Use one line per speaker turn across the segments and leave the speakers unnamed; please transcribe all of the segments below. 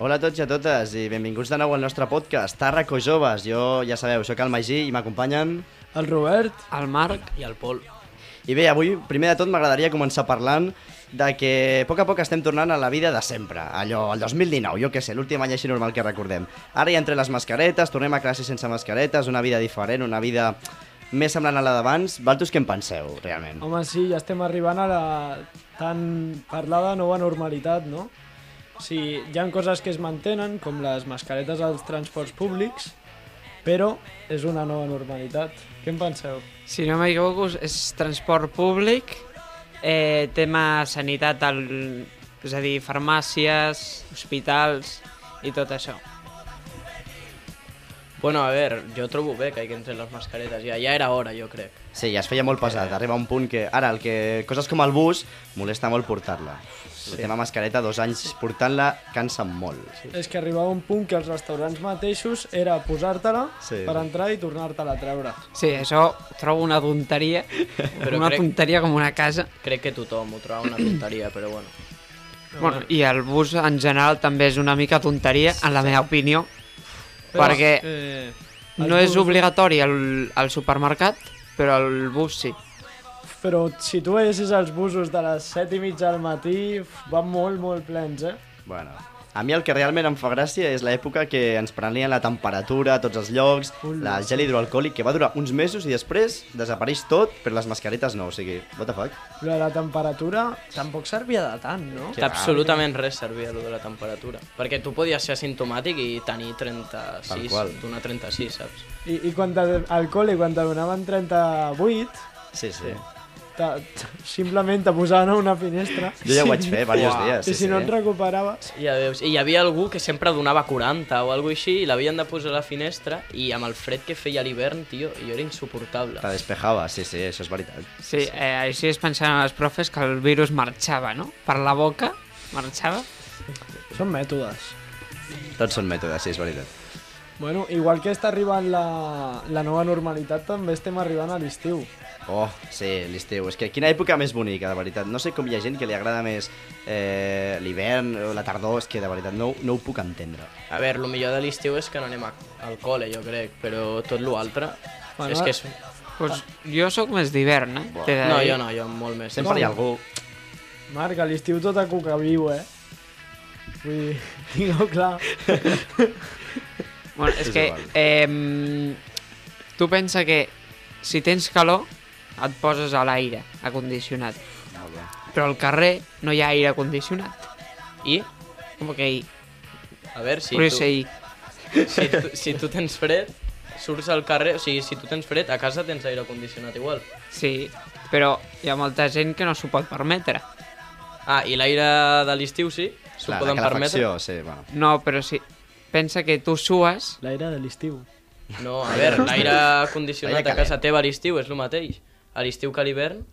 Hola a tots i a totes i benvinguts de nou al nostre podcast Tàrraco Joves. Jo, ja sabeu, sóc el Magí i m'acompanyen.
El Robert.
el Marc i el Pol.
I bé, avui, primer de tot, m'agradaria començar parlant de que a poc a poc estem tornant a la vida de sempre. Allò, el 2019, jo què sé, l'últim any així normal que recordem. Ara ja entre les mascaretes, tornem a classe sense mascaretes, una vida diferent, una vida més semblant a la d'abans. Valtos, què en penseu, realment?
Home, sí, ja estem arribant a la tan parlada nova normalitat, no? O sigui, hi han coses que es mantenen, com les mascaretes als transports públics, però és una nova normalitat. Què en penseu?
Si no m'equivoco, és transport públic, eh, tema sanitat, el, és a dir, farmàcies, hospitals i tot això.
Bueno, a ver, yo trobo bé que hay que entrar las mascaretas, ya, ya era hora, yo creo.
Sí, ja es feia molt pesat. Arriba un punt que ara el que coses com el bus molesta molt portar-la. Sí. El tema mascareta, dos anys portant-la, cansa molt. Sí.
És que arribava un punt que els restaurants mateixos era posar-te-la
Sí.
per entrar i tornar-te-la a treure.
Sí, això trobo una tonteria,
Però
una
crec-
tonteria com una casa.
Crec que tothom ho troba una tonteria, però bueno.
Bueno, I el bus en general també és una mica tonteria, en la meva opinió,
Però
perquè
Eh,
no
els
és
busos-
obligatori al, al supermercat, però el bus sí.
Però si tu veiessis els busos de les 7 i mitja del matí, uf, van molt, molt plens, eh?
Bueno, a mi el que realment em fa gràcia és l'època que ens prenien la temperatura a tots els llocs, la gel hidroalcohòlic, que va durar uns mesos i després desapareix tot, però les mascaretes no, o sigui, what the fuck?
Però la temperatura tampoc servia de tant, no?
Clar.
Absolutament res servia allò de la temperatura. Perquè tu podies ser asimptomàtic i tenir 36,
Tal qual.
donar 36, saps?
I, i quan te, al col·le, quan te donaven 38,
Sí, sí.
te, te, simplement te posaven a una finestra.
Jo ja ho vaig fer diversos
Uah.
dies.
I si
eh?
no et recuperaves...
I, ja veus, I hi havia algú que sempre donava 40 o alguna així i l'havien de posar a la finestra i amb el fred que feia a l'hivern, tio, jo era insuportable.
Te despejava, sí, sí, això és veritat.
Sí, eh, així es pensaven els profes que el virus marxava, no? Per la boca marxava.
Són mètodes.
Tots són mètodes, sí, és veritat.
Bueno, igual que està arribant la, la nova normalitat, també estem arribant a l'estiu.
Oh, sí, l'estiu. És que quina època més bonica, de veritat. No sé com hi ha gent que li agrada més eh, l'hivern o la tardor, és que de veritat no, no ho puc entendre.
A veure, el millor de l'estiu és que no anem a, al col·le, jo crec, però tot l'altre...
Bueno,
és que és...
Pues jo sóc més d'hivern, eh? t'he de
No,
dir.
jo no, jo molt més.
Sempre hi ha algú...
Marc, a l'estiu tot a cuca viu, eh? Vull dir, tingueu clar.
Bueno, és
És
que
igual.
eh, tu pensa que si tens calor et poses a l'aire acondicionat,
Molt bé.
però al carrer no hi ha aire acondicionat.
I?
Com que hi?
A veure, si
Sí, tu...
tu, si, tu, si tu tens fred, surts al carrer... O sigui, si tu tens fred, a casa tens aire condicionat igual.
sí, però hi ha molta gent que no s'ho pot permetre.
Ah, i l'aire de l'estiu sí? S'ho
Clar, la
poden permetre?
calefacció, sí, bueno.
No, però si pensa que tu sues,
L'aire de l'estiu.
No, a veure, l'aire condicionat
Aire
a casa teva a l'estiu és el mateix. A l'estiu que a l'hivern?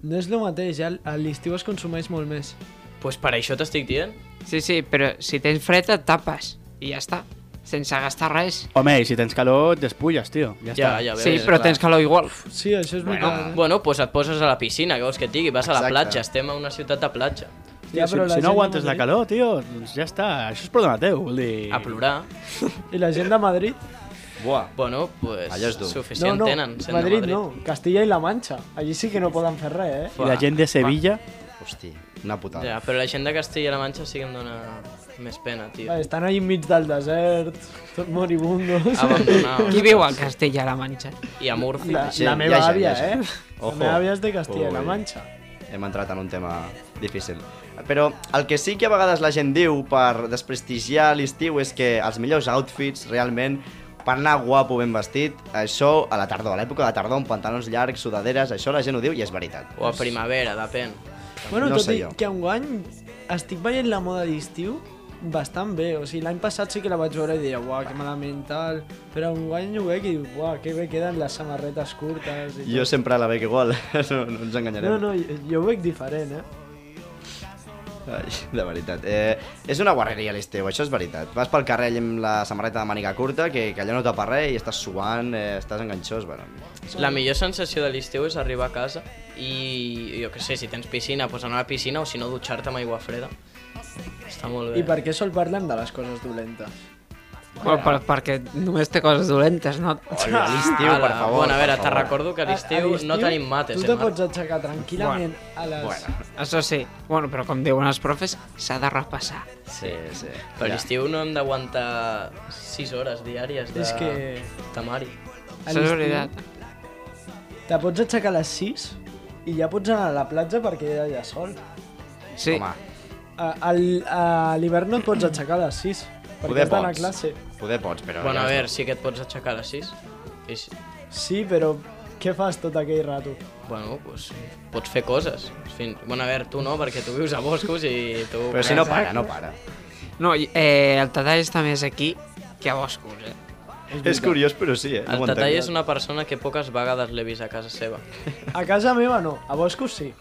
No és el mateix, ja a l'estiu es consumeix molt més.
Doncs pues per això t'estic dient.
sí, sí, però si tens fred et tapes i ja està, sense gastar res.
Home, i si tens calor, et despulles, tio.
Ja,
Ja, està.
ja veus.
Sí, però
clar.
tens calor igual.
Sí, això és bueno, veritat. eh?
Bueno, doncs pues et poses a la piscina, què vols que et digui? Vas a la
Exacte.
platja, estem a una ciutat de platja.
Tio, si,
la
si
gent
no
de
aguantes la
Madrid-
calor, tio, doncs ja està. Això és problema teu, vol dir...
A plorar.
I la gent de Madrid
Buah.
Bueno, pues
Allò és dur.
suficient tenen. sent de
Madrid, no, Castilla i la Mancha. Allí sí que no poden fer res, eh?
I la gent de Sevilla...
Hosti, una putada.
Ja, però la gent de Castilla-La Manxa sí que em dóna més pena, tio.
Eh, Estan allà enmig del desert, tot moribundos.
Ah,
Abandonar.
Qui viu al Castella-La Manxa?
I a Murcia.
La,
gent,
la
hi
meva
ha gent, hi
àvia,
ha gent.
eh?
Ojo.
La meva àvia és de Castilla i la
Ui.
Manxa.
Hem entrat en un tema difícil. Però el que sí que a vegades la gent diu per desprestigiar l'estiu és que els millors outfits realment per anar guapo ben vestit, això a la tardor, a l'època de tardor, amb pantalons llargs, sudaderes, això la gent ho diu i és veritat.
O a primavera, depèn.
Bueno,
no
tot
sé
i
jo.
que enguany estic veient la moda d'estiu bastant bé, o sigui, l'any passat sí que la vaig veure i deia, uah, que malament tal, però un guany ho veig i diu, uah, que bé queden les samarretes curtes i
Jo
tot.
sempre la veig igual, no, no ens enganyarem.
No, no, jo, jo ho veig diferent, eh?
Ai, de veritat. Eh, és una guarreria l'estiu, això és veritat. Vas pel carrer allà amb la samarreta de màniga curta, que, que allò no tapa res i estàs suant, eh, estàs enganxós, bueno.
La millor sensació de l'estiu és arribar a casa i, jo que sé, si tens piscina, pues anar a la piscina o si no, dutxar-te amb aigua freda. Està molt bé.
I per què sol parlem de les coses dolentes?
Bueno, per, perquè només té coses dolentes, no?
Oi, a l'estiu, per
Ala,
favor.
Bueno, a veure,
per
te
favor.
recordo que a
A- a
l'estiu no
l'estiu
tenim mates,
Tu
eh,
te
Marc?
pots aixecar tranquil·lament a les...
Bueno,
Això sí. Bueno, però com diuen els profes, s'ha de repassar.
sí, sí.
Per l'estiu no hem d'aguantar 6 hores diàries de
És que
temari.
a
S'ha
l'estiu
oblidat.
te pots aixecar a les 6 i ja pots anar a la platja perquè hi ha ja sol.
Sí.
Home,
A, al- a l'hivern no et pots aixecar a les 6 perquè
poder
has d'anar a
pots.
classe.
Poder pots, però...
Bueno, a
ja
veure,
està.
sí que et pots aixecar a les 6. I, si-
Sí, però què fas tot aquell rato?
bueno, pues, pots fer coses. Fins... Bueno, a veure, tu no, perquè tu vius a boscos i tu...
Però si no para, no para.
No, i, eh, el Tadà està més aquí que a Boscos, eh?
És curiós, però sí, eh?
El
ho
Tatall
entenc.
és una persona que poques vegades l'he vist a casa seva.
A casa meva no, a boscos sí.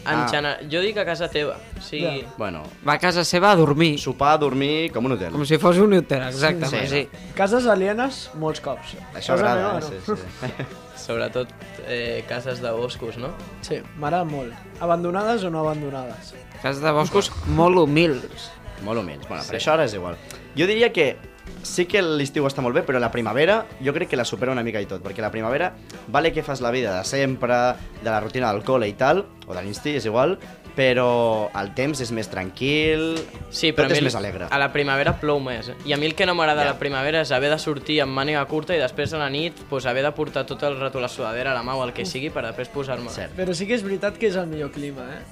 En
Ah.
general, jo dic a casa teva, o sigui...
Ja.
Bueno,
Va a casa seva a dormir,
sopar, dormir, com un hotel.
com si fos un hotel, exactament,
Sí.
sí.
Cases alienes, molts cops.
Això
casa
agrada,
meva,
eh? Sí, sí.
Sobretot eh, cases de boscos, no?
no. Sí, m'agrada molt. Abandonades o no abandonades?
Casa de Boscos molt humils.
Molt humils. Bueno, però això ara és igual. Jo diria que sí que l'estiu està molt bé, però la primavera jo crec que la supera una mica i tot, perquè la primavera vale que fas la vida de sempre, de la rutina del col·le i tal, o de l'insti, és igual, però el temps és més tranquil,
Sí, però
tot
a
és
mi,
més alegre.
a la primavera plou més. eh? I a mi el que no m'agrada
Ja.
a la primavera és haver de sortir amb màniga curta i després a la nit pues, haver de portar tot el rato la sudadera a la mà o el que sigui per després posar-me.
Cert.
Però sí que és veritat que és el millor clima, eh?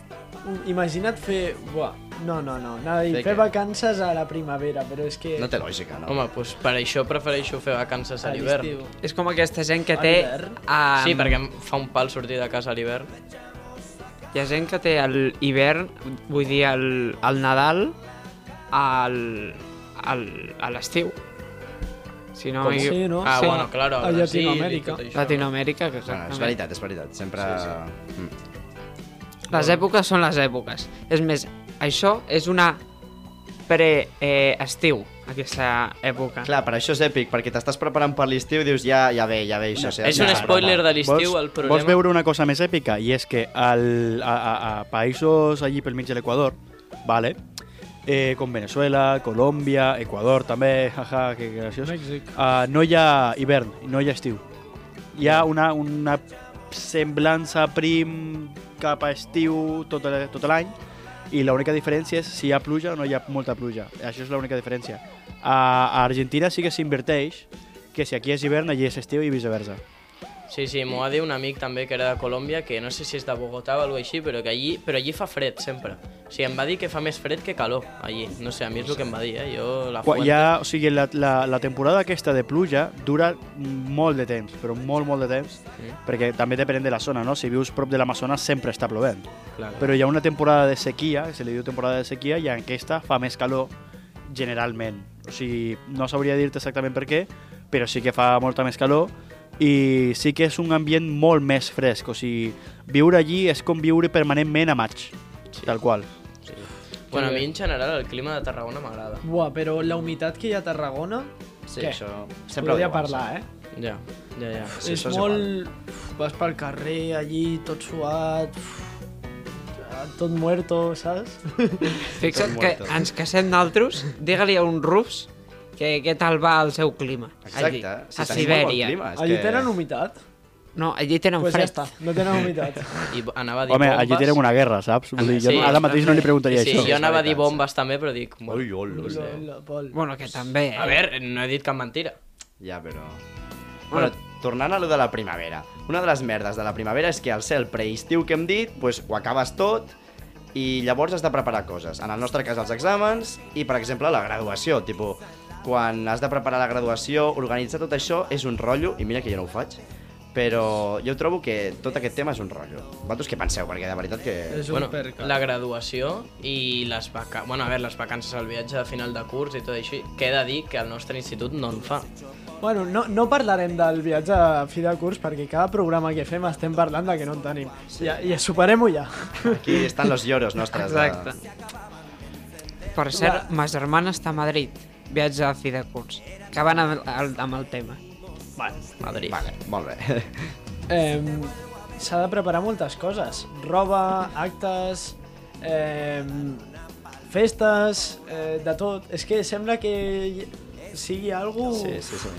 Un- Imagina't fer... Buah, no, no, no, anava a dir,
Fer
fer
què?
vacances a la primavera, però és que...
No té lògica, no?
Home, pues, per això prefereixo fer vacances a
a
l'hivern.
l'estiu.
És com aquesta gent que
A
té...
l'hivern?
Um,
Sí, perquè em fa un pal sortir de casa a l'hivern.
Hi ha gent que té el hivern, vull dir, el, el Nadal, al, al, a l'estiu. Si no,
Com
m'equivo-
sí, no?
Ah,
sí.
bueno, claro, a
A
Brasil i
Llatinoamèrica.
tot això.
Latinoamèrica, que
Bueno, Ah, és
exactament.
veritat, és veritat. Sempre... Sí, sí.
Les èpoques són les èpoques. És més, això és una pre-estiu, aquesta època.
Clar, per això és èpic, perquè t'estàs preparant per l'estiu i dius ja, ja ve, ja ve, això.
És un
ja,
spoiler de l'estiu,
vols,
el
vols
problema.
veure una cosa més èpica? I és que al, a, a, a països allí pel mig de l'Equador, vale? eh, com Venezuela, Colòmbia, Equador també, jaja, que graciós,
Mèxic.
uh, no hi ha hivern, no hi ha estiu. Hi ha una, una semblança prim cap a estiu tot, el- tot l'any i l'única diferència és si hi ha pluja o no hi ha molta pluja. Això és l'única diferència. A, a Argentina sí que s'inverteix, que si aquí és hivern, allí és estiu i viceversa.
Sí, sí, m'ho va dir un amic també que era de Colòmbia, que no sé si és de Bogotà o alguna així, però que allí, però allí fa fred sempre. O sigui, em va dir que fa més fred que calor allí. No sé, a mi és el que em va dir, eh? Jo la
Quan
fuente...
hi ha, o sigui, la, la, la temporada aquesta de pluja dura molt de temps, però molt, molt de temps,
Sí.
perquè també depèn de la zona, no? Si vius prop de l'Amazones sempre està plovent.
Clar.
Però hi ha una temporada de sequia, que se li diu temporada de sequia, i en aquesta fa més calor generalment. O sigui, no sabria dir-te exactament per què, però sí que fa molta més calor i sí que és un ambient molt més fresc. O sigui, viure allí és com viure permanentment a maig, sí. tal qual.
Bueno, a mi en general el clima de Tarragona m'agrada.
Buah, però la humitat que hi ha a Tarragona...
Sí,
Què?
això... Sempre ho
Podria
diuen,
parlar, eh?
Ja, ja, ja.
Sí,
és
això és
molt... Uf, Vas pel carrer, allí, tot suat... uf, ah, Tot muerto, saps?
Fixa't
Tot
que
muerto.
ens casem naltros, digue-li a un rus que què tal va el seu clima.
Exacte.
Allí,
Si
a
tenim molt bon
Sibèria.
clima, Ah, és
Allí
que-
tenen humitat?
No, allí tenen
Doncs pues ja
fred.
està, no tenen humitat.
I bo- anava a dir
Home,
bombes.
allí tenen una guerra, saps? Vull dir, jo
Sí,
no, ara mateix no li preguntaria
sí,
això.
jo anava a dir
veritat, sí.
bombes també, però dic... Bueno,
Ui, ol, ol, ol.
Lola, Pol.
Bueno, que també, eh?
a veure, no he dit cap mentira.
Ja, però... Bueno, tornant a lo de la primavera. Una de les merdes de la primavera és que al ser el preestiu que hem dit, pues, ho acabes tot i llavors has de preparar coses. En el nostre cas, els exàmens i, per exemple, la graduació. Tipo, quan has de preparar la graduació, organitzar tot això és un rotllo, i mira que jo no ho faig, però jo trobo que tot aquest tema és un rotllo. Vosaltres què penseu? Perquè de veritat que...
És un
Bueno,
percal.
la graduació i les vacances... Bueno, a veure, les vacances al viatge de final de curs i tot això, que he de dir que el nostre institut no en fa.
Bueno, no, no parlarem del viatge a fi de curs perquè cada programa que fem estem parlant de que no en tenim. Sí. Ja, ja superem-ho ja.
Aquí estan los lloros nostres. de-
Exacte. Per cert, ma germana està a Madrid, viatge a fi de curs, que van amb, el- amb el tema.
Madrid.
Vale, molt bé.
Eh, S'ha de preparar moltes coses. Roba, actes, eh, festes, eh, de tot. És que sembla que sigui algú
Sí, sí, sí.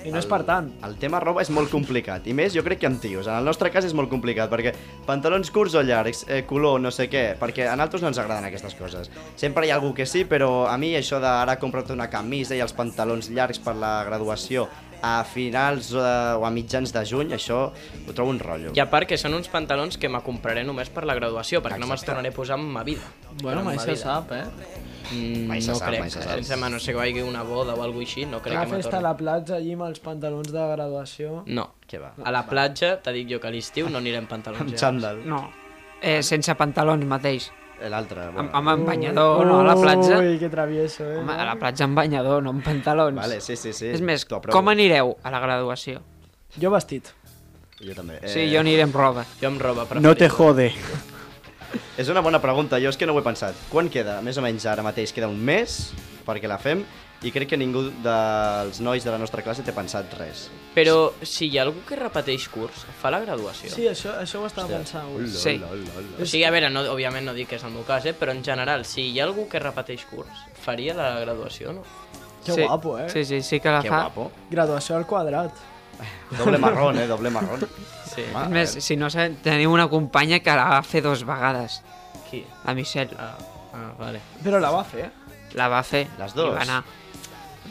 i no és per tant.
El tema roba és molt complicat, i més jo crec que amb tios. En el nostre cas és molt complicat, perquè pantalons curts o llargs, eh, color, no sé què, perquè a nosaltres no ens agraden aquestes coses. Sempre hi ha algú que sí, però a mi això d'ara comprar-te una camisa i els pantalons llargs per la graduació a finals eh, o a mitjans de juny, això ho trobo un rotllo.
I a part que són uns pantalons que me compraré només per la graduació, perquè no me'ls
Exacte.
tornaré a posar en ma vida.
Bueno,
En
mai
ma
se
vida.
sap, eh?
Mm,
Mai se
no
sap,
crec,
mai se sap.
em sembla, no sé que hi hagi una boda o alguna així, no crec
Una
que me
festa a
torni.
la platja allí amb els pantalons de graduació.
No.
Què va?
A la platja, t'ha dit jo que a l'estiu no anirem pantalons
Amb
ja.
xandall.
No, eh, sense pantalons mateix,
L'altre,
amb,
bueno.
amb en banyador, no, a la platja.
Ui, que travieso, eh?
Home, a la platja amb banyador, no amb pantalons.
Vale, sí, sí, sí.
És més,
T'ho aprovo.
com anireu a la graduació?
Jo vestit.
Jo també.
Eh... Sí, jo aniré amb roba.
Jo amb roba preferida.
No te jode.
És una bona pregunta, jo és que no ho he pensat. Quan queda? Més o menys ara mateix queda un mes perquè la fem i crec que ningú dels nois de la nostra classe té pensat res.
Però si hi ha algú que repeteix curs, fa la graduació.
Sí, això, això ho estava pensant.
Ul,
Sí.
ul, ul, ul, ul.
O sigui, a veure, no, òbviament no dic que és el meu cas, eh? però en general, si hi ha algú que repeteix curs, faria la graduació, no?
Que
sí.
guapo, eh?
Sí, sí, sí que la
Que
fa.
guapo.
Graduació al quadrat.
Doble marrón, eh? Doble marrón.
Sí.
Home,
És més, si no sé, tenim una companya que la va fer dos vegades,
Qui?
la Michelle.
Ah, ah vale.
Però la va fer.
La va fer.
Les dues?
I va anar.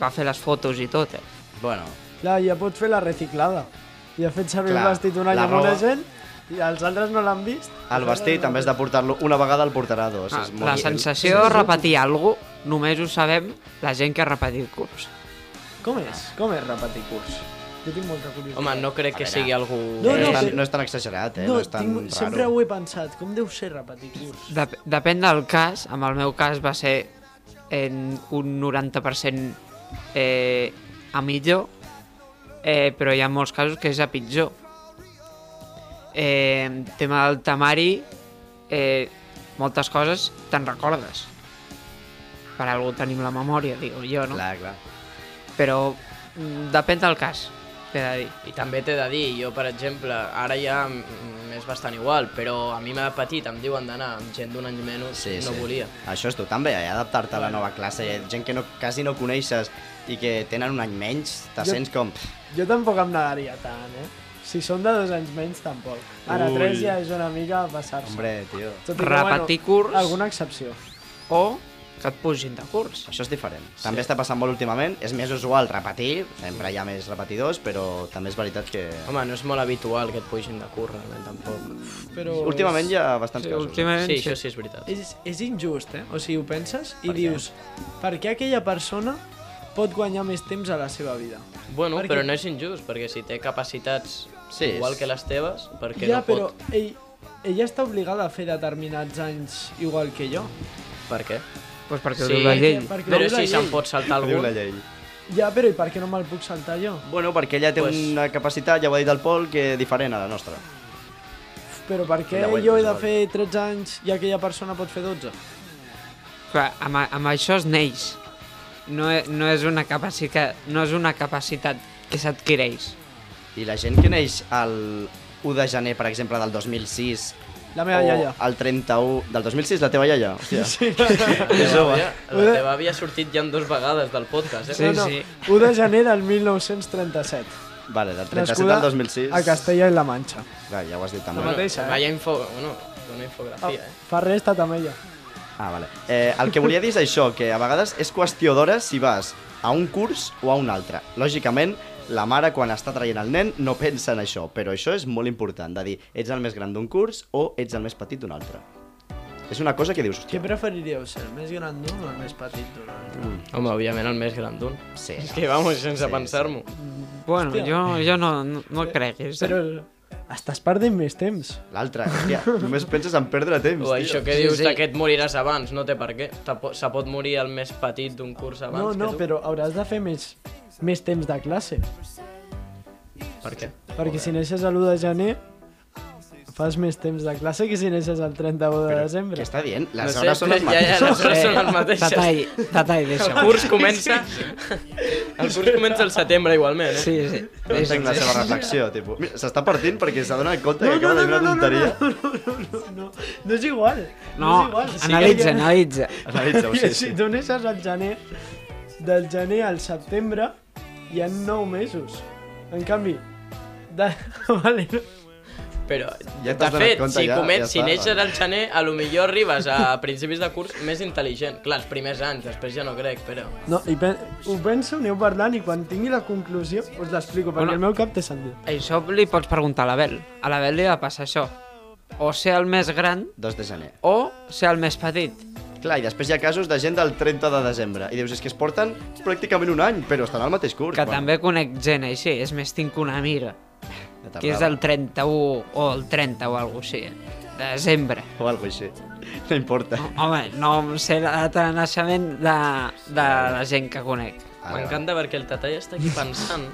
Va fer les fotos i tot, eh?
Bueno,
Clar, ja pots fer la reciclada. I ha fet servir
Clar,
el vestit un any
la
amb una
roba.
gent i els altres no l'han vist.
el vestit, en vez de portar-lo una vegada, el portarà dos.
Ah,
és molt
la
útil.
sensació de repetir alguna cosa, només ho sabem la gent que ha repetit curs.
Com és? Com és repetir curs? Jo tinc molta curiositat.
Home, no crec que sigui algú...
No,
No,
és
no,
tan,
que-
no és tan exagerat, eh?
no,
No, és tan
tinc,
raro.
sempre ho he pensat. Com deu ser repetir curs?
Dep depèn del cas, amb el meu cas va ser en un 90% eh, a millor, eh, però hi ha molts casos que és a pitjor. Eh, tema del temari, eh, moltes coses te'n recordes. Per algú tenim la memòria, digo jo, no?
Clar, clar.
Però mm, depèn del cas, t'he de dir.
I també t'he de dir, jo per exemple, ara ja mm, m'és bastant igual, però a mi m'ha petit, em diuen d'anar amb gent d'un any menys,
Sí,
no
sí.
volia.
Això és tu també, eh? adaptar-te a la nova classe. Gent que no, quasi no coneixes i que tenen un any menys, te
Jo-
sents com...
Jo tampoc em negaria tant, eh? Si són de dos anys menys, tampoc. Ara,
Ui.
tres ja és una mica passar-se.
Hombre, tio,
Tot i que,
Repetir curs
Alguna excepció.
o que et pugin de curs.
Això és diferent. Sí. També està passant molt últimament. És més usual repetir, sempre hi ha més repetidors, però també és veritat que...
Home, no és molt habitual que et pugin de curs, realment, tampoc.
Però
Últimament hi ha bastants
Sí,
casos. eh?
Eh,
últimament,
Sí, això sí és veritat.
És, és injust, eh? O sigui, ho penses
Per què?
i per dius per què aquella persona pot guanyar més temps a la seva vida?
Bueno,
perquè-
però no és injust, perquè si té capacitats
Sí, és-
igual que les teves, perquè
ja,
no pot...
però ell, ella està obligada a fer determinats anys igual que jo.
Per què?
Pues doncs perquè
Sí.
ho diu la llei.
Perquè ho
Però
diu la
si se'n
llei.
pot saltar
Ho diu la
algun...
llei.
Ja, però i per què no me'l puc saltar jo?
Bueno, perquè ella té pues...
Pues-
una capacitat, ja ho ha dit el Pol, que diferent a la nostra.
Uf, Però per què
Ja ho he
jo he de
vist,
fer 13 anys i aquella persona pot fer 12?
Clar, amb, amb això es neix. No, e- no, és una capacitat, no és una capacitat que s'adquireix.
I la gent que neix el 1 de gener, per exemple, del 2006,
La meva
o
iaia.
el 31... Del 2006, la teva iaia? Hòstia. Sí.
La teva,
jove.
àvia,
Eh?
la teva àvia ha sortit ja en dues vegades del podcast, eh?
Sí,
no, no,
sí.
1 de gener del 1937.
Vale, del 37
Nascuda
al 2006.
a Castella i la Manxa.
Clar, ja ho has dit també.
La mateixa, eh? Oh.
Vaya info... Bueno, una infografia, eh?
Fa res, ta tamella.
Ah, vale. Eh, el que volia dir és això, que a vegades és qüestió d'hores si vas a un curs o a un altre. Lògicament, la mare, quan està traient el nen, no pensa en això, però això és molt important, de dir, ets el més gran d'un curs o ets el més petit d'un altre. És una cosa que dius,
Què
hòstia,
preferiríeu ser, el més gran d'un o el més petit d'un?
Home, òbviament el més gran d'un.
sí,
És que, vamos, sense
Sí,
pensar-m'ho.
Bueno,
Hòstia.
jo, jo no, no, no el creguis.
Però
Eh?
estàs perdent més temps.
L'altre, hòstia, només penses en perdre temps,
O això que
Sí,
dius
sí.
d'aquest moriràs abans, no té per què. Te po- Se pot morir el més petit d'un curs
No,
abans
no,
que tu.
però hauràs de fer més, més temps de classe.
Per què?
Perquè si neixes a l'1 de gener, fas més temps de classe que si neixes al 31 de
Què
desembre.
està dient? Les
No sé,
hores són les
ja, ja,
mateixes.
les hores
Eh,
són les mateixes.
Detall, detall
El
d'això.
curs comença... El curs comença al setembre igualment, eh?
Sí, sí.
No
És,
entenc la seva reflexió, tipus. Mira, s'està partint perquè s'adona compte que acaba de dir una tonteria.
no, no, no, no, no és igual.
no,
és igual.
analitza, analitza.
Analitza-ho, sí, sí.
Si tu neixes al gener, del gener al setembre, hi ha 9 mesos. En canvi, de... vale, no.
Però,
Ja
de
t'has donat
fet,
compte,
si,
ja-
comet,
ja
si
està, doncs.
neixes
vale.
al gener, a lo millor arribes a principis de curs més intel·ligent. Clar, els primers anys, després ja no crec, però...
no i pen ho penso, aneu parlant i quan tingui la conclusió us l'explico, perquè
Bueno.
el meu cap té sentit.
Això li pots preguntar a l'Abel. A l'Abel li va passar això. O ser el més gran
2 de gener.
o ser el més petit.
Clar, i després hi ha casos de gent del 30 de desembre. I dius, és que es porten pràcticament un any, però estan al mateix curs.
Que també conec gent així. És més, tinc una amiga
també,
que és del 31 o el 30 o alguna cosa així. De desembre.
O alguna així. No importa.
Home, no sé la data de naixement de, de la gent que conec.
Ara.
M'encanta perquè el Tatall està aquí pensant.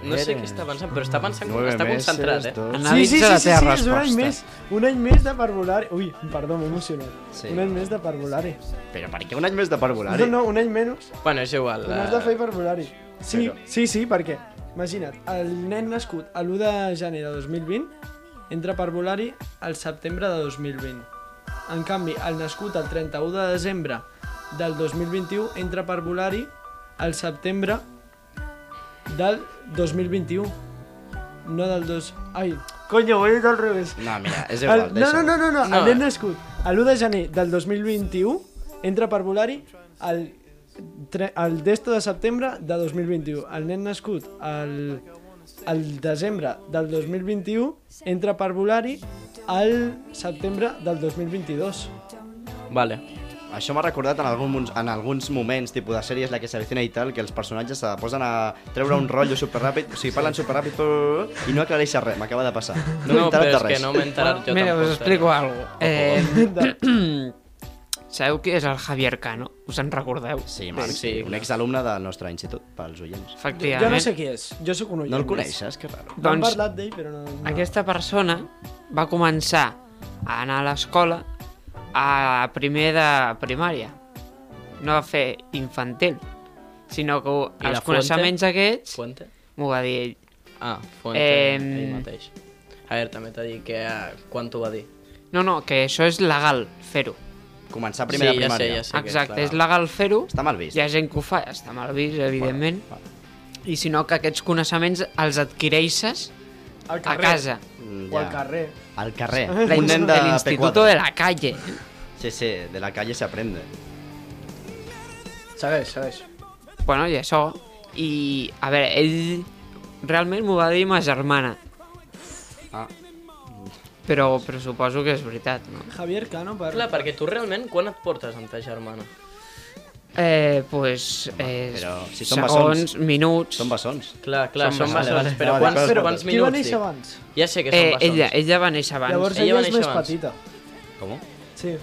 No sé què està pensant, però està pensant,
Nueve
està
meses,
concentrat, eh?
dos-
Analitza la teva
és un any
resposta.
més, un any més de parvulari. Ui, perdó, m'he emocionat.
Sí.
Un any més de parvulari.
Però per què un any més de parvulari?
No, no, un any menys,
Bueno, és igual. eh,
un has de fer parvulari. Sí,
Però-
sí, sí, perquè, imagina't, el nen nascut a l'1 de gener de 2020 entra a parvulari al setembre de 2020. En canvi, el nascut el 31 de desembre del 2021 entra a parvulari al setembre del 2021. No del dos... Ai, coño, ho he dit al revés.
No, mira, és igual,
El, no, no, no, no, no,
No,
el nen
eh.
nascut l'1 de gener del 2021 entra per volari el, tre- el desto de setembre de 2021. El nen nascut el, el desembre del 2021 entra per volari al setembre del 2022.
Vale.
Això m'ha recordat en alguns, en alguns moments, tipus de sèries, la que s'avicina i tal, que els personatges se posen a treure un rotllo superràpid, o sigui, parlen superràpid però- i no aclareix res, m'acaba de passar. No, m'he
No,
enterat
però
de
és
res.
que no m'he enterat jo
Mira,
tampoc. eh,
us explico alguna cosa. Eh, sabeu qui és el Javier Cano? Us en recordeu?
Sí, Marc,
Sí,
sí,
sí.
un exalumne del nostre institut, pels oients.
Efectivament.
Jo no sé qui és, jo sóc un oient.
No el coneixes? Que raro.
Doncs... Hem
Doncs
parlat d'ell, però no... no.
aquesta persona va començar a anar a l'escola a primer de primària. No va fer infantil, sinó que
I la
els
Fuente?
coneixements aquests
Fuente?
m'ho va dir ell.
Ah, Fuente,
Eh,
ell mateix. A veure, també t'ha dit que... eh, Quan t'ho va dir?
No, no, que això és legal fer-ho.
Començar primer de
sí, ja sé,
primària.
ja sé. que
Exacte, és
és
legal fer-ho.
Està mal vist.
Hi ha gent que ho fa, està mal vist, evidentment. I si no, que aquests coneixements els adquireixes
Al
a
carrer.
casa.
Mm,
O al
ja.
carrer.
Al carrer.
La
Un nen de
de l'instituto
P4.
de la calle.
Sí, sí, de la calle s'aprende.
Segueix, segueix.
Bueno, i això. I, a veure, ell realment m'ho va dir ma germana.
Ah.
Però, però suposo que és veritat, no?
Javier Cano per...
Clar, perquè tu realment quan et portes amb ta germana?
Eh, pues, eh,
però si són
segons, minuts...
Són bessons.
Clar, clar,
Som
són
bessons.
bessons, però
Vale,
quants,
vale.
però quants
Qui va
minuts?
néixer
dic?
abans?
Ja sé que són
Eh,
bessons.
ella, ella va néixer abans.
Llavors
ella va
ella, és
néixer
més
abans.
petita.
Com?
Sí,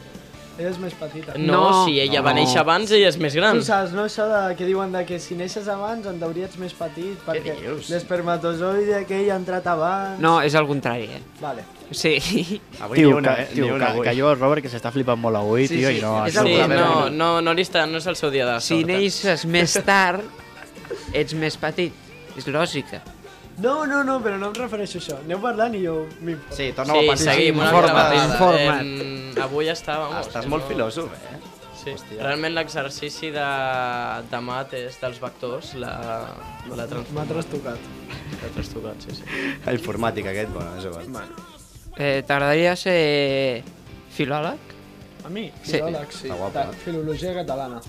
ella és més petita.
No,
No.
si ella
No.
va néixer abans, ella és més gran.
Tu saps, no, això de, que diuen de que si neixes abans en teoria ets més petit perquè
dius?
l'espermatozoide aquell ha entrat abans...
No, és el contrari, eh?
Vale.
Sí.
Avui
Tio,
ni una,
que,
eh?
tio,
ni una,
que,
avui.
que jo, Robert, que s'està flipant molt avui,
Sí,
tio,
sí,
i no...
és
Sí,
el
no-
problema.
no, no, no, li està, no és el seu dia de
Si
sort. eh?
neixes més tard, ets més petit. És lògica.
No, no, no, però no em refereixo a això. Aneu parlant i jo m'importo.
Sí, torna a
Sí,
partir.
seguim, una altra
Informa't,
vegada.
informa't.
Em, avui està, vamos.
Estàs
és
molt
un-
filòsof, eh?
Sí. Realment l'exercici de, de mates dels vectors la, la
M'ha
transformat.
trastocat.
L'ha trastocat, sí, sí.
La informàtica aquest, bueno, és igual.
Eh, T'agradaria ser filòleg?
A mi?
Sí.
Filòleg, sí.
Està guapo,
Ta-
eh?
Filologia catalana.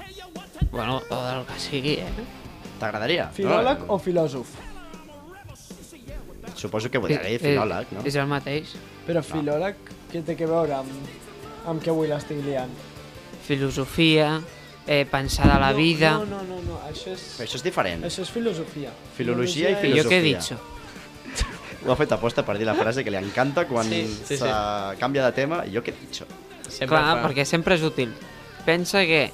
Bueno, o del que sigui, eh?
T'agradaria?
Filòleg
no?
o filòsof?
Suposo que volia dir
Eh,
filòleg, no?
És el mateix.
Però filòleg, què té que veure amb, amb què avui l'estic liant?
Filosofia, eh, pensar de la vida...
No, no, no, no, això és...
Però això és diferent.
Això és filosofia.
Filologia i
I jo què he
filosofia.
dit?
Ho ha fet aposta per dir la frase que li encanta quan sí,
Sí, sí, sí.
canvia de tema. I jo què he dit?
Sempre
Clar,
fa.
perquè sempre és útil. Pensa que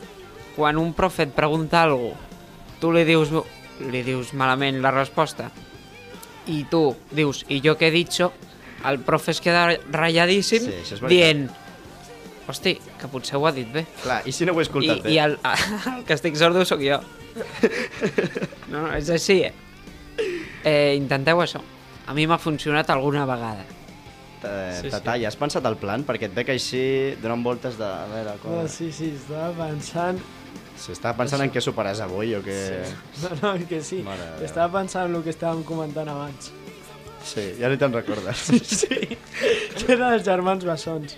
quan un profe et pregunta alguna tu li dius, li dius malament la resposta i tu dius, i jo què he dicho, el profe es queda ratlladíssim
Sí, això és veritat.
dient hosti, que potser ho ha dit bé.
Clar, i si no ho he
I,
escoltat bé?
i el, el que estic sordo sóc jo. No, no, és així, eh? eh intenteu això. A mi m'ha funcionat alguna vegada.
Eh,
Sí,
sí,
sí.
Tatà, sí. has pensat el plan? Perquè et veig així donant voltes de... A veure, com...
No, sí, sí, estava pensant...
Si estava pensant en què superaràs avui o què...
No, no, que sí.
Mare de Déu.
Estava pensant en el que estàvem comentant abans.
Sí, ja ni te'n recordes.
Sí, que era dels germans bessons.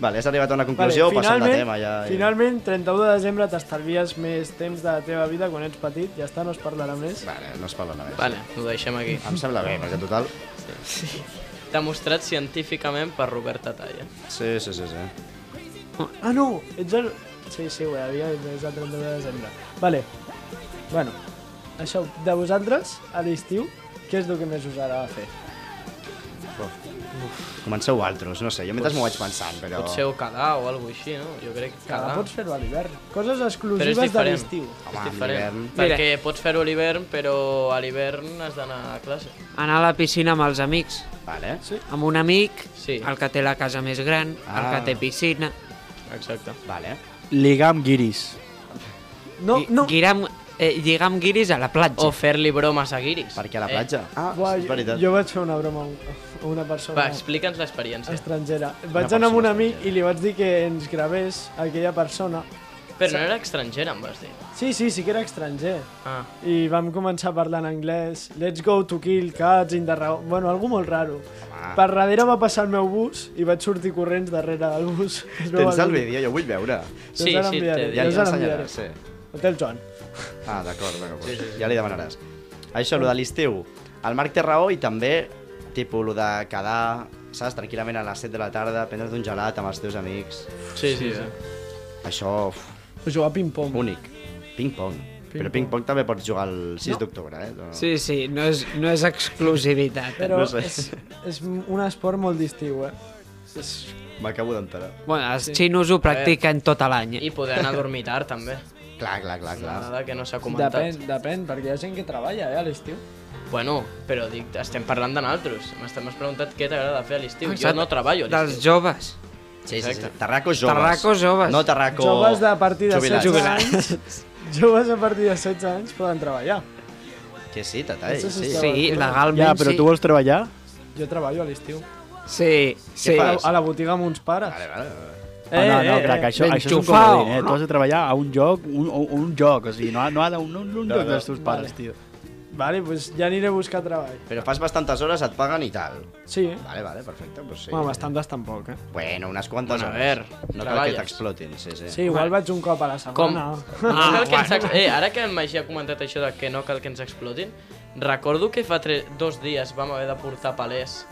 vale, has arribat a una conclusió o passant de tema? Ja, ja.
finalment, 31 de desembre t'estalvies més temps de la teva vida quan ets petit, ja està, no es parlarà més.
Vale, no es parla només.
Vale, ho deixem aquí.
Em sembla bé, perquè total...
Demostrat científicament per Robert eh? Talla.
Sí, sí, sí, sí.
Ah, no, ets el... Sí, sí, ho havia és el 31 de desembre. Vale, bueno, això, de vosaltres, a l'estiu, què és el que més us agrada fer?
Comenceu altres, no sé, jo mentre m'ho vaig pensant, però...
Potser o quedar o alguna així, no? Jo crec que
Cada
quedar.
pots fer-ho a l'hivern. Coses
Però és
exclusives de
diferent.
l'estiu.
Home,
és
en
diferent.
hivern-
Perquè pots fer-ho a l'hivern, però a l'hivern has d'anar a classe.
Anar a la piscina amb els amics,
Vale. Sí.
amb un amic,
Sí.
el que té la casa més gran, el
Ah.
que té piscina...
Exacte.
Vale.
Ligar amb guiris.
No,
Gui-
no,
Guiram, eh, lligar amb guiris a la platja.
O fer-li bromes a guiris.
Perquè a la platja... Eh. Ah,
Buah,
és veritat.
jo vaig fer una broma a un- a una persona
Eh, Va, explica'ns l'experiència.
estrangera. Vaig
persona
anar amb un amic
estrangera.
i li vaig dir que ens gravés aquella persona.
Però no era estrangera, em vas dir.
Sí, sí, sí que era estranger.
Ah,
I vam començar a parlar en anglès. Let's go to kill cats in the raw... Bueno, algú molt raro.
Home.
Per darrere va passar el meu bus i vaig sortir corrents darrere del bus. Es veu
Tens el vídeo, jo vull veure.
Jo
Sí,
us
sí,
l'enviaré,
té-
jo
Ja,
us
ja
l'enviaré.
l'ensenyaràs, sí.
El té el Joan.
Ah, d'acord, d'acord. Sí, sí, sí. Ja li demanaràs. Això, lo de l'estiu. El Marc té raó i també, tipus, lo de quedar, saps, tranquil·lament a les 7 de la tarda, prendre't un gelat amb els teus amics.
sí, sí. sí.
Això, uf,
Jugar a ping-pong.
únic. Ping-pong. Però ping-pong també pots jugar el 6 d'octubre, eh? No.
Sí, sí, no és, no és exclusivitat. eh.
Però
no sé.
és, és un esport molt d'estiu, eh?
M'acabo d'enterar.
Bueno, els xinos ho practiquen tot l'any. eh.
I poder anar a dormir tard, també.
Clar, clar, clar, clar.
Nada que no s'ha comentat.
Depèn, depèn, perquè hi ha gent que treballa, eh, a l'estiu.
Bueno, però dic, estem parlant de naltros. M'has m'has preguntat què t'agrada fer a l'estiu. Jo
Exacte.
no treballo a
Dels
l'estiu.
joves.
Sí, sí, sí.
Exacte.
Tarracos joves.
Tarracos joves.
No tarraco...
Joves de a partir de
jubilats.
16 anys. Joves a partir de 16 anys poden treballar.
Que sí, tatai,
Això
sí.
sí està-
Sí, legalment
Ja, però
sí.
tu vols treballar?
Jo treballo a l'estiu.
Sí, sí.
fas?
A la botiga amb uns pares.
Vale, vale, vale.
Eh, ah, no, no, crec que això,
Ben
això és un
xufao,
comodín, eh?
no?
Tu has de treballar a un joc, un, un, un joc, o sigui, no, ha- no ha d'un un, un
No,
joc
no.
dels teus pares,
Vale.
tio.
Vale, doncs ja aniré a buscar treball.
Però fas bastantes hores, et paguen i tal.
Sí, eh?
Vale, vale, perfecte, doncs sí.
Bueno, bastantes tampoc, eh?
Bueno, unes quantes
Bueno, a
hores.
ver,
no cal que
treballes.
t'explotin, sí, sí.
Sí, igual vaig un cop a la setmana. Com?
No cal que ens ex- eh, ara que en Magí ha comentat això de que no cal que ens explotin, recordo que fa tre... dos dies vam haver de portar palers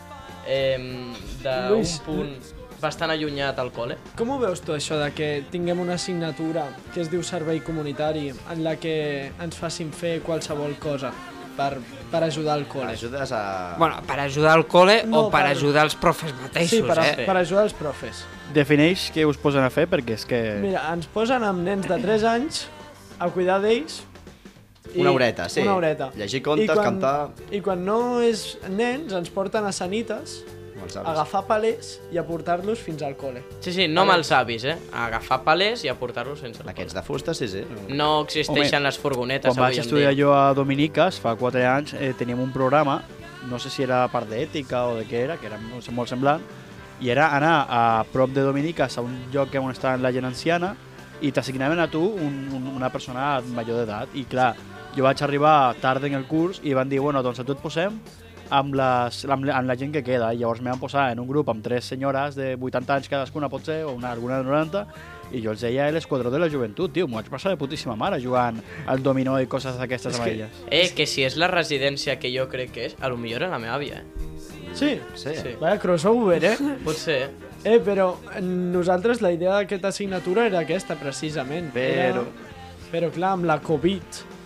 eh, d'un
Luis.
punt bastant allunyat al col·le.
Com ho veus tu, això de que tinguem una assignatura que es diu servei comunitari en la que ens facin fer qualsevol cosa per, per ajudar al col·le?
Ajudes a...
Bueno, per ajudar al col·le
No,
o per
per-
ajudar els profes mateixos,
Sí, per, a,
eh?
per ajudar els profes.
Defineix què us posen a fer, perquè és que...
Mira, ens posen amb nens de 3 anys a cuidar d'ells. i-
Una horeta, sí.
Una horeta.
Llegir contes,
I quan,
cantar.
I quan no és nens, ens porten a sanites,
Com els
a
avis.
agafar palers i a portar-los fins al col·le.
Sí, sí, no amb els avis, eh? A agafar palers i a portar-los sense el
Aquests de fusta, sí, sí.
col·le. No existeixen
Home,
les furgonetes
Quan vaig
avui en
estudiar
dia.
jo a Dominiques, fa 4 anys, eh, teníem un programa, no sé si era part d'ètica o de què era, que era molt molt semblant, i era anar a prop de Dominiques, a un lloc on estava la gent anciana, i t'assignaven a tu un, un, una persona major d'edat. I clar, jo vaig arribar tard en el curs i van dir, bueno, doncs a tu et posem amb, les, amb, la- amb la gent que queda. I llavors me van posar en un grup amb tres senyores de 80 anys cadascuna, potser, o una, alguna de 90, i jo els deia l'esquadró de la joventut, tio, m'ho vaig passar de putíssima mare jugant al dominó i coses d'aquestes amarelles.
Eh, que si és la residència que jo crec que és, a lo millor era la meva àvia, eh?
Sí,
Sí.
Sí.
Vaya crossover, eh?
Potser, eh?
Eh, però nosaltres la idea d'aquesta assignatura era aquesta, precisament.
Però-
Era... Però clar, amb la Covid...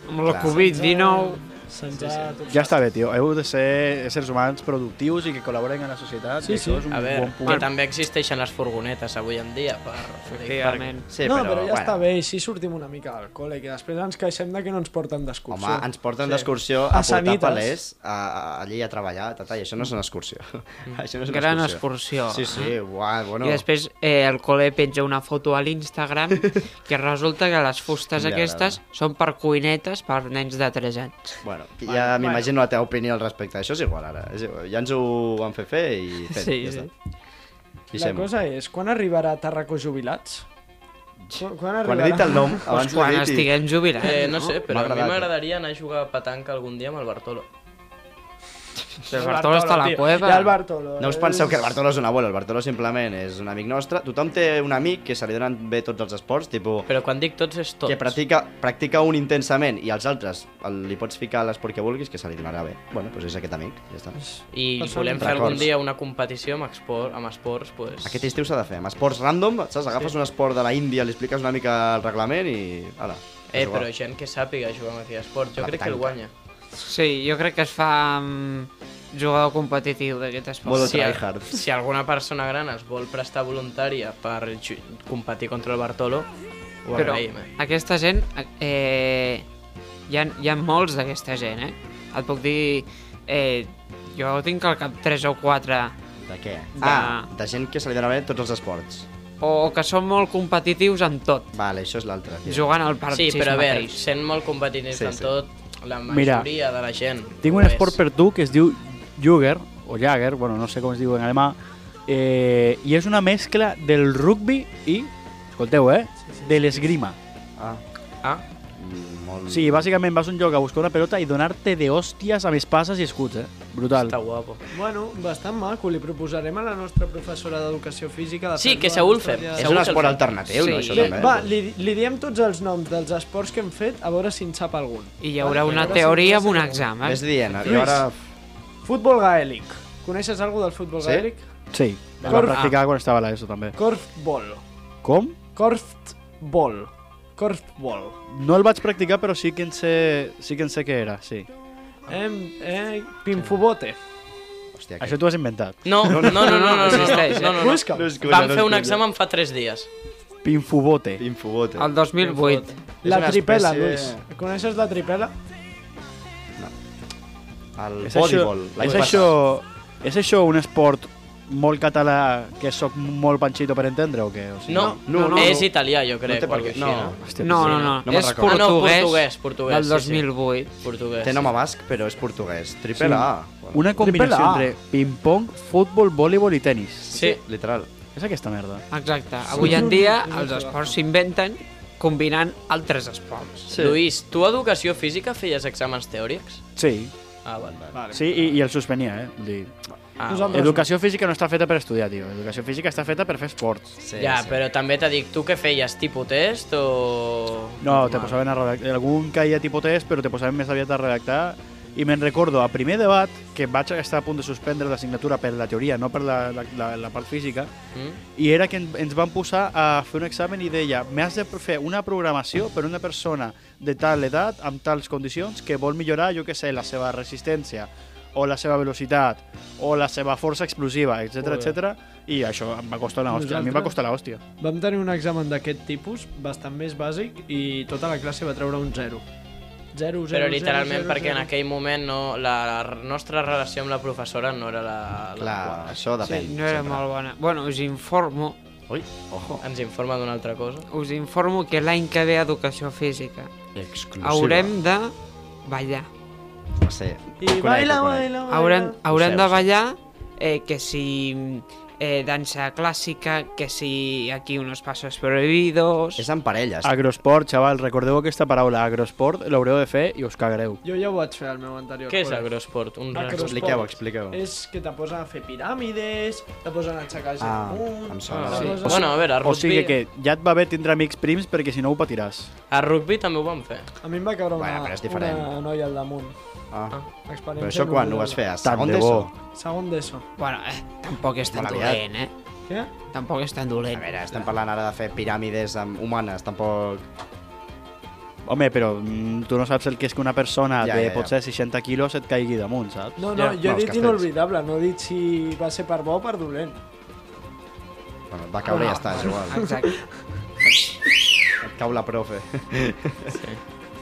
Amb la Covid-19...
Se'ns ha...
Ja està bé, tio. Heu de ser éssers humans productius i que col·laboren en la societat.
Sí,
i
sí.
Això és un
A veure,
Mm, bon punt.
que també existeixen les furgonetes avui en dia per...
Efectivament.
Sí,
no, però ja
bueno,
està bé, així sortim una mica del col·le, que després ens queixem de que no ens porten d'excursió.
Home, ens porten d'excursió a,
A
portar
Sanitas.
palers, a, a, allí a treballar, tata, i això no és una excursió. això no és una
Mm. Gran excursió. Ah.
Sí, sí, uà, bueno.
I després eh, el col·le penja una foto a l'Instagram que resulta que les fustes
M'agrada.
aquestes són per cuinetes per nens de 3 anys.
Bueno, ja m'imagino la teva opinió al respecte. Això és igual, ara. És igual. Ja ens ho van fer fer i fent,
Sí,
ja
sí.
està.
La cosa és, quan arribarà Tarraco Jubilats? Quan, quan
Quan he dit el nom, abans
Doncs
ho he
quan
dit i-
estiguem jubilats,
Eh, no sé, però a mi
M'ha agradat.
m'agradaria anar a jugar a petanca algun dia amb el Bartolo.
Però el Bartolo està a la
tio.
cueva.
Ja el Bartolo.
No us penseu que el Bartolo és un abuelo, el Bartolo simplement és un amic nostre. Tothom té un amic que se li donen bé tots els esports, tipus
Però quan dic tots és tots.
que practica, practica un intensament i els altres el, li pots ficar l'esport que vulguis que se li donarà bé. Bueno, doncs és aquest amic, ja està.
I
Persones.
volem fer algun
Records.
dia una competició amb, esport, amb esports, pues...
Aquest estiu s'ha de fer, amb esports random, saps? Agafes un esport de la Índia, li expliques una mica el reglament i... Ala,
Eh, però gent que sàpiga jugar amb aquest esport, jo
La
crec que el
petanca.
guanya.
Sí, jo crec que es fa amb jugador competitiu d'aquest esport.
Modo
Sí, a-
tryhard.
Si alguna persona gran es vol prestar voluntària per ju- competir contra el Bartolo, ho
Però
agraïm. eh?
aquesta gent... Eh, hi, ha, hi ha molts d'aquesta gent, eh? Et puc dir... Eh, jo tinc al cap 3 o 4
De què?
De-
Ah, de gent que se li dona bé tots els esports.
o que són molt competitius en tot,
Vale, això és l'altre. tio.
jugant al
Sí,
parxís
però a veure,
mateix.
sent molt competitius
Sí,
en
sí.
tot, la
Mira,
majoria de la gent...
Tinc
ho
un
és.
esport per tu que es diu Jugger, o Jagger, bueno, no sé com es diu en alemà, eh, i és una mescla del rugby i, escolteu, eh, de l'esgrima.
Ah,
Ah,
mm, molt...
Sí, bàsicament vas a un lloc a buscar una pelota i donar-te de hòsties amb espases i escuts, eh? Brutal.
està guapo.
Bueno, bastant maco, li proposarem a la nostra professora d'educació física... De
Sí,
fer-lo
que
la
segur el
nostra
fem.
dia de-
És un
Segur que el
esport
fa.
alternatiu, no?
Sí.
Això
Bé,
també. eh?
va, li, li diem tots els noms dels esports que hem fet, a veure si en sap algun.
I hi haurà
Vale,
una
a veure si
teoria
en
amb un eh?
coneixes algun.
examen.
Ves
Ah.
dient, i
Lluís.
ara...
Futbol gaèlic. Coneixes alguna del futbol
Sí?
gaèlic?
Sí, el va
Corf-
practicar quan estava a l'ESO, també.
Corfball.
Com?
Corftball. Corfball.
No el vaig practicar, però sí que en sé, sí que en sé què era, sí.
Em, eh, pinfubote.
Hòstia,
Això t'ho has inventat.
No, no, no, no, no, no, no,
Existeix, eh?
no, no, no.
Busca-ho.
Vam fer un examen fa 3 dies.
Pinfubote.
Infobote.
El 2008.
La
una
tripela,
espècie-
Luis. Coneixes la tripela?
El
És això,
bodyball. l'any
és
passat.
això, és això un esport molt català que sóc molt panxito per entendre o què? O sigui,
No,
no,
no,
no,
no,
no.
és italià, jo crec,
té per
no o alguna
què-
així,
no.
no?
Hòstia,
No, no,
sí,
no,
no me'n
és
recordo.
portuguès,
Ah, no, portuguès, portuguès,
del
sí,
2008.
Portuguès.
Té nom a basc, però és portuguès. Tripela A. Bueno,
Una combinació
Triple A.
entre ping-pong, futbol, voleibol i tennis.
Sí,
literal.
És aquesta merda.
Exacte. Avui en dia els esports s'inventen combinant altres esports.
sí. Lluís, tu a educació física feies exàmens teòrics?
Sí,
Ah, val, val.
Vale.
sí i, i el suspenia, eh? Vull dir,
Ah,
Nosaltres-
val.
educació física no està feta per estudiar, tio. Educació física està feta per fer esports.
Sí,
ja,
sí.
però també t'ha dit, tu què feies, tipus test o...
No, te posaven a redactar. Algun caia tipus test, però te posaven més aviat a redactar. I me'n recordo, a primer debat, que vaig estar a punt de suspendre l'assignatura per la teoria, no per la, la, la, la part física,
Mm?
i era que en- ens van posar a fer un examen i deia m'has de fer una programació per una persona de tal edat, amb tals condicions, que vol millorar, jo que sé, la seva resistència, o la seva velocitat, o la seva força explosiva, etc
Joder.
etc. I això em va costar una hòstia. A mi em va costar la hòstia.
Vam tenir un examen d'aquest tipus, bastant més bàsic, i tota la classe va treure un 0. 0, 0,
Però literalment perquè en aquell moment no, la, la nostra relació amb la professora no era la... la
Clar, això depèn.
No era
sempre.
molt bona. Bueno, us informo,
Ui, ojo.
Ens informa d'una altra cosa.
us informo que l'any que ve a Educació Física
Exclusiva.
haurem de ballar.
Sí.
I
Conec,
baila,
ho conec.
baila,
Ah,
baila.
Haurem, haurem
Ho sé,
de
ho sé.
ballar eh, que si eh, dansa clàssica, que si aquí unos pasos prohibidos...
És en parelles.
Ah, Agrosport, xaval, recordeu aquesta paraula, agrosport, l'haureu de fer i us cagareu.
Jo ja ho vaig fer al meu anterior
Què és
col·legi.
agrosport? Un
Acro-
res-
Expliqueu, expliqueu.
És que te posen a fer piràmides, te posen a aixecar gent
Ah,
amunt...
em sona.
te
Sí.
posen-
Bueno, a veure, a
O
rugby,
sigui que ja et va bé tindre amics prims perquè si no ho patiràs.
a rugby també ho vam fer.
A mi em va caure una,
Bueno, però és diferent.
una noia al damunt.
Ah.
Experiència
Però això quan ho vas fer? A
Tant
segon
de bo.
d'ESO?
Segon d'ESO.
Bueno, eh, tampoc és tan
Molt aviat.
dolent, eh?
Què?
Tampoc és tan
A
dolent.
veure, estem parlant ara de fer piràmides amb humanes, tampoc...
Home, però mm, tu no saps el que és que una persona
Ja,
de
ja, ja.
potser 60 quilos et caigui damunt, saps?
No, no,
Ja, no,
jo he
els
dit
castells.
inolvidable, no he dit si va ser per bo o per dolent.
Bueno, et va caure i
Ah.
ja està, és igual.
Exacte.
Et cau la profe.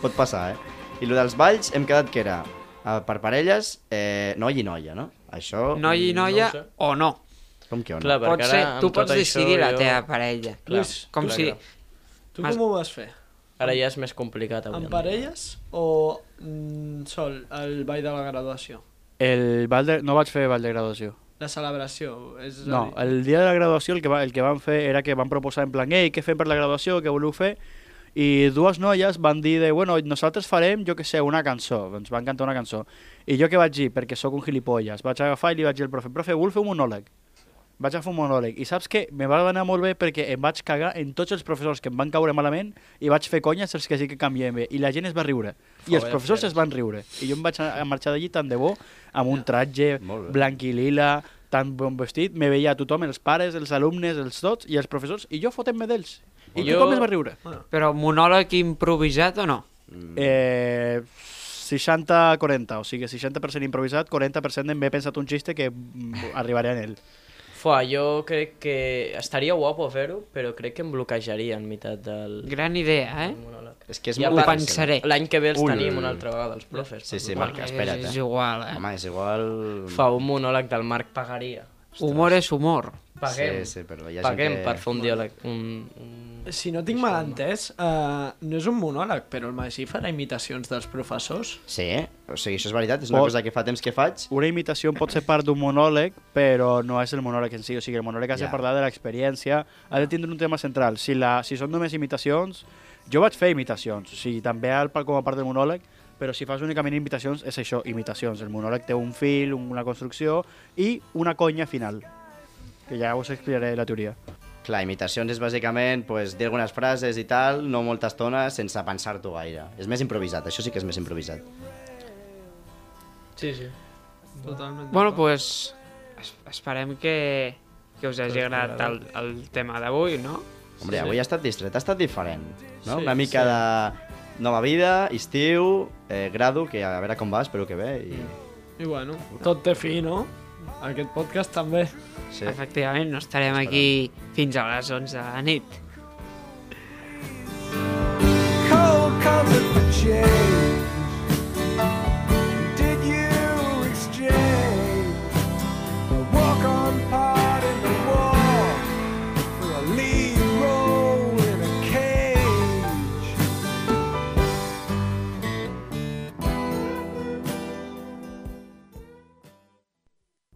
Pot passar, eh? I lo dels balls hem quedat que era eh, per parelles, eh, noi i noia, no? Això...
Noi i
no ho
noia
sé.
o no.
Com que o no?
Clar, perquè
Pot
ara
ser,
amb
tu
tot
pots
això
decidir la
jo-
teva parella.
Clar,
Lluís,
Com
clar,
si...
clar.
Tu
Mas-
com ho vas fer?
Ara ja és més complicat avui.
En
en dia.
parelles o mm, sol, el ball de la graduació?
El ball de... No vaig fer ball de graduació.
La celebració, és a
No,
dir,
el dia de la graduació el que, va, el que van fer era que van proposar en plan, ei, què fem per la graduació, què voleu fer? I dues noies van dir de, bueno, nosaltres farem, jo que sé, una cançó. Doncs van cantar una cançó. I jo què vaig dir? Perquè sóc un gilipolles. Vaig agafar i li vaig dir al profe, profe, vull fer un monòleg. Vaig agafar un monòleg. I saps què? Me va anar molt bé perquè em vaig cagar en tots els professors que em van caure malament i vaig fer conyes els que sí que canvien bé. I la gent es va riure. I
Fa
els
bé
professors
fer-ho.
es van riure. I jo em vaig anar- marxar d'allí tan de bo, amb un tratge
Molt bé.
blanc i lila, tan bon vestit, me veia a tothom, els pares, els alumnes, els tots, i els professors, i jo fotent-me d'ells. I
Jo-
tothom es va riure.
Però monòleg improvisat o no?
Mm.
Eh, 60-40, o sigui, 60% improvisat, 40% m'he pensat un xiste que mm, arribaré en ell.
Fua, jo crec que estaria guapo fer-ho, però crec que em bloquejaria en meitat del
Gran idea, eh?
monòleg.
És que és
I a
molt
Ho
part-
difícil.
pensaré.
L'any que ve els
Ui.
tenim una altra vegada, els profes.
Sí, sí,
Bueno,
Marc, espera't,
És
eh?
igual, eh?
Home, és igual...
Fa un monòleg del Marc pagaria.
Humor és humor.
Paguem.
Sí, sí, però hi ha gent
Paguem
que-
per fer un diàleg. Un, un...
si no tinc mal entès, eh, no és un monòleg, però el Magí farà imitacions dels professors.
Sí, o sigui, això és veritat, és una
Pot-
cosa que fa temps que faig.
Una imitació pot ser part d'un monòleg, però no és el monòleg en si. O sigui, el monòleg has de
Ja.
parlar de l'experiència, ha de tindre un tema central. Si, la, si són només imitacions, jo vaig fer imitacions, o sigui, també al- com a part del monòleg, però si fas únicament imitacions, és això, imitacions. El monòleg té un fil, una construcció i una conya final, que ja us explicaré la teoria.
Clar, imitacions és bàsicament pues, dir algunes frases i tal, no molta estona, sense pensar-t'ho gaire. És més improvisat, això sí que és més improvisat.
Sí, sí.
Totalment.
Bueno,
d'acord.
doncs pues, esperem que, que us hagi agradat el, el tema d'avui, no?
Hombre, avui ha estat distret, ha estat diferent, no?
Sí,
una mica
sí.
de nova vida, estiu, eh, grado, que a veure com va, espero que bé. I...
I bueno, tot té fi, no? Aquest podcast també.
Sí.
Efectivament, no estarem aquí fins a les 11 de la nit.
cold comfort for change. Did you exchange a walk on part in the war for a lead role in a cage?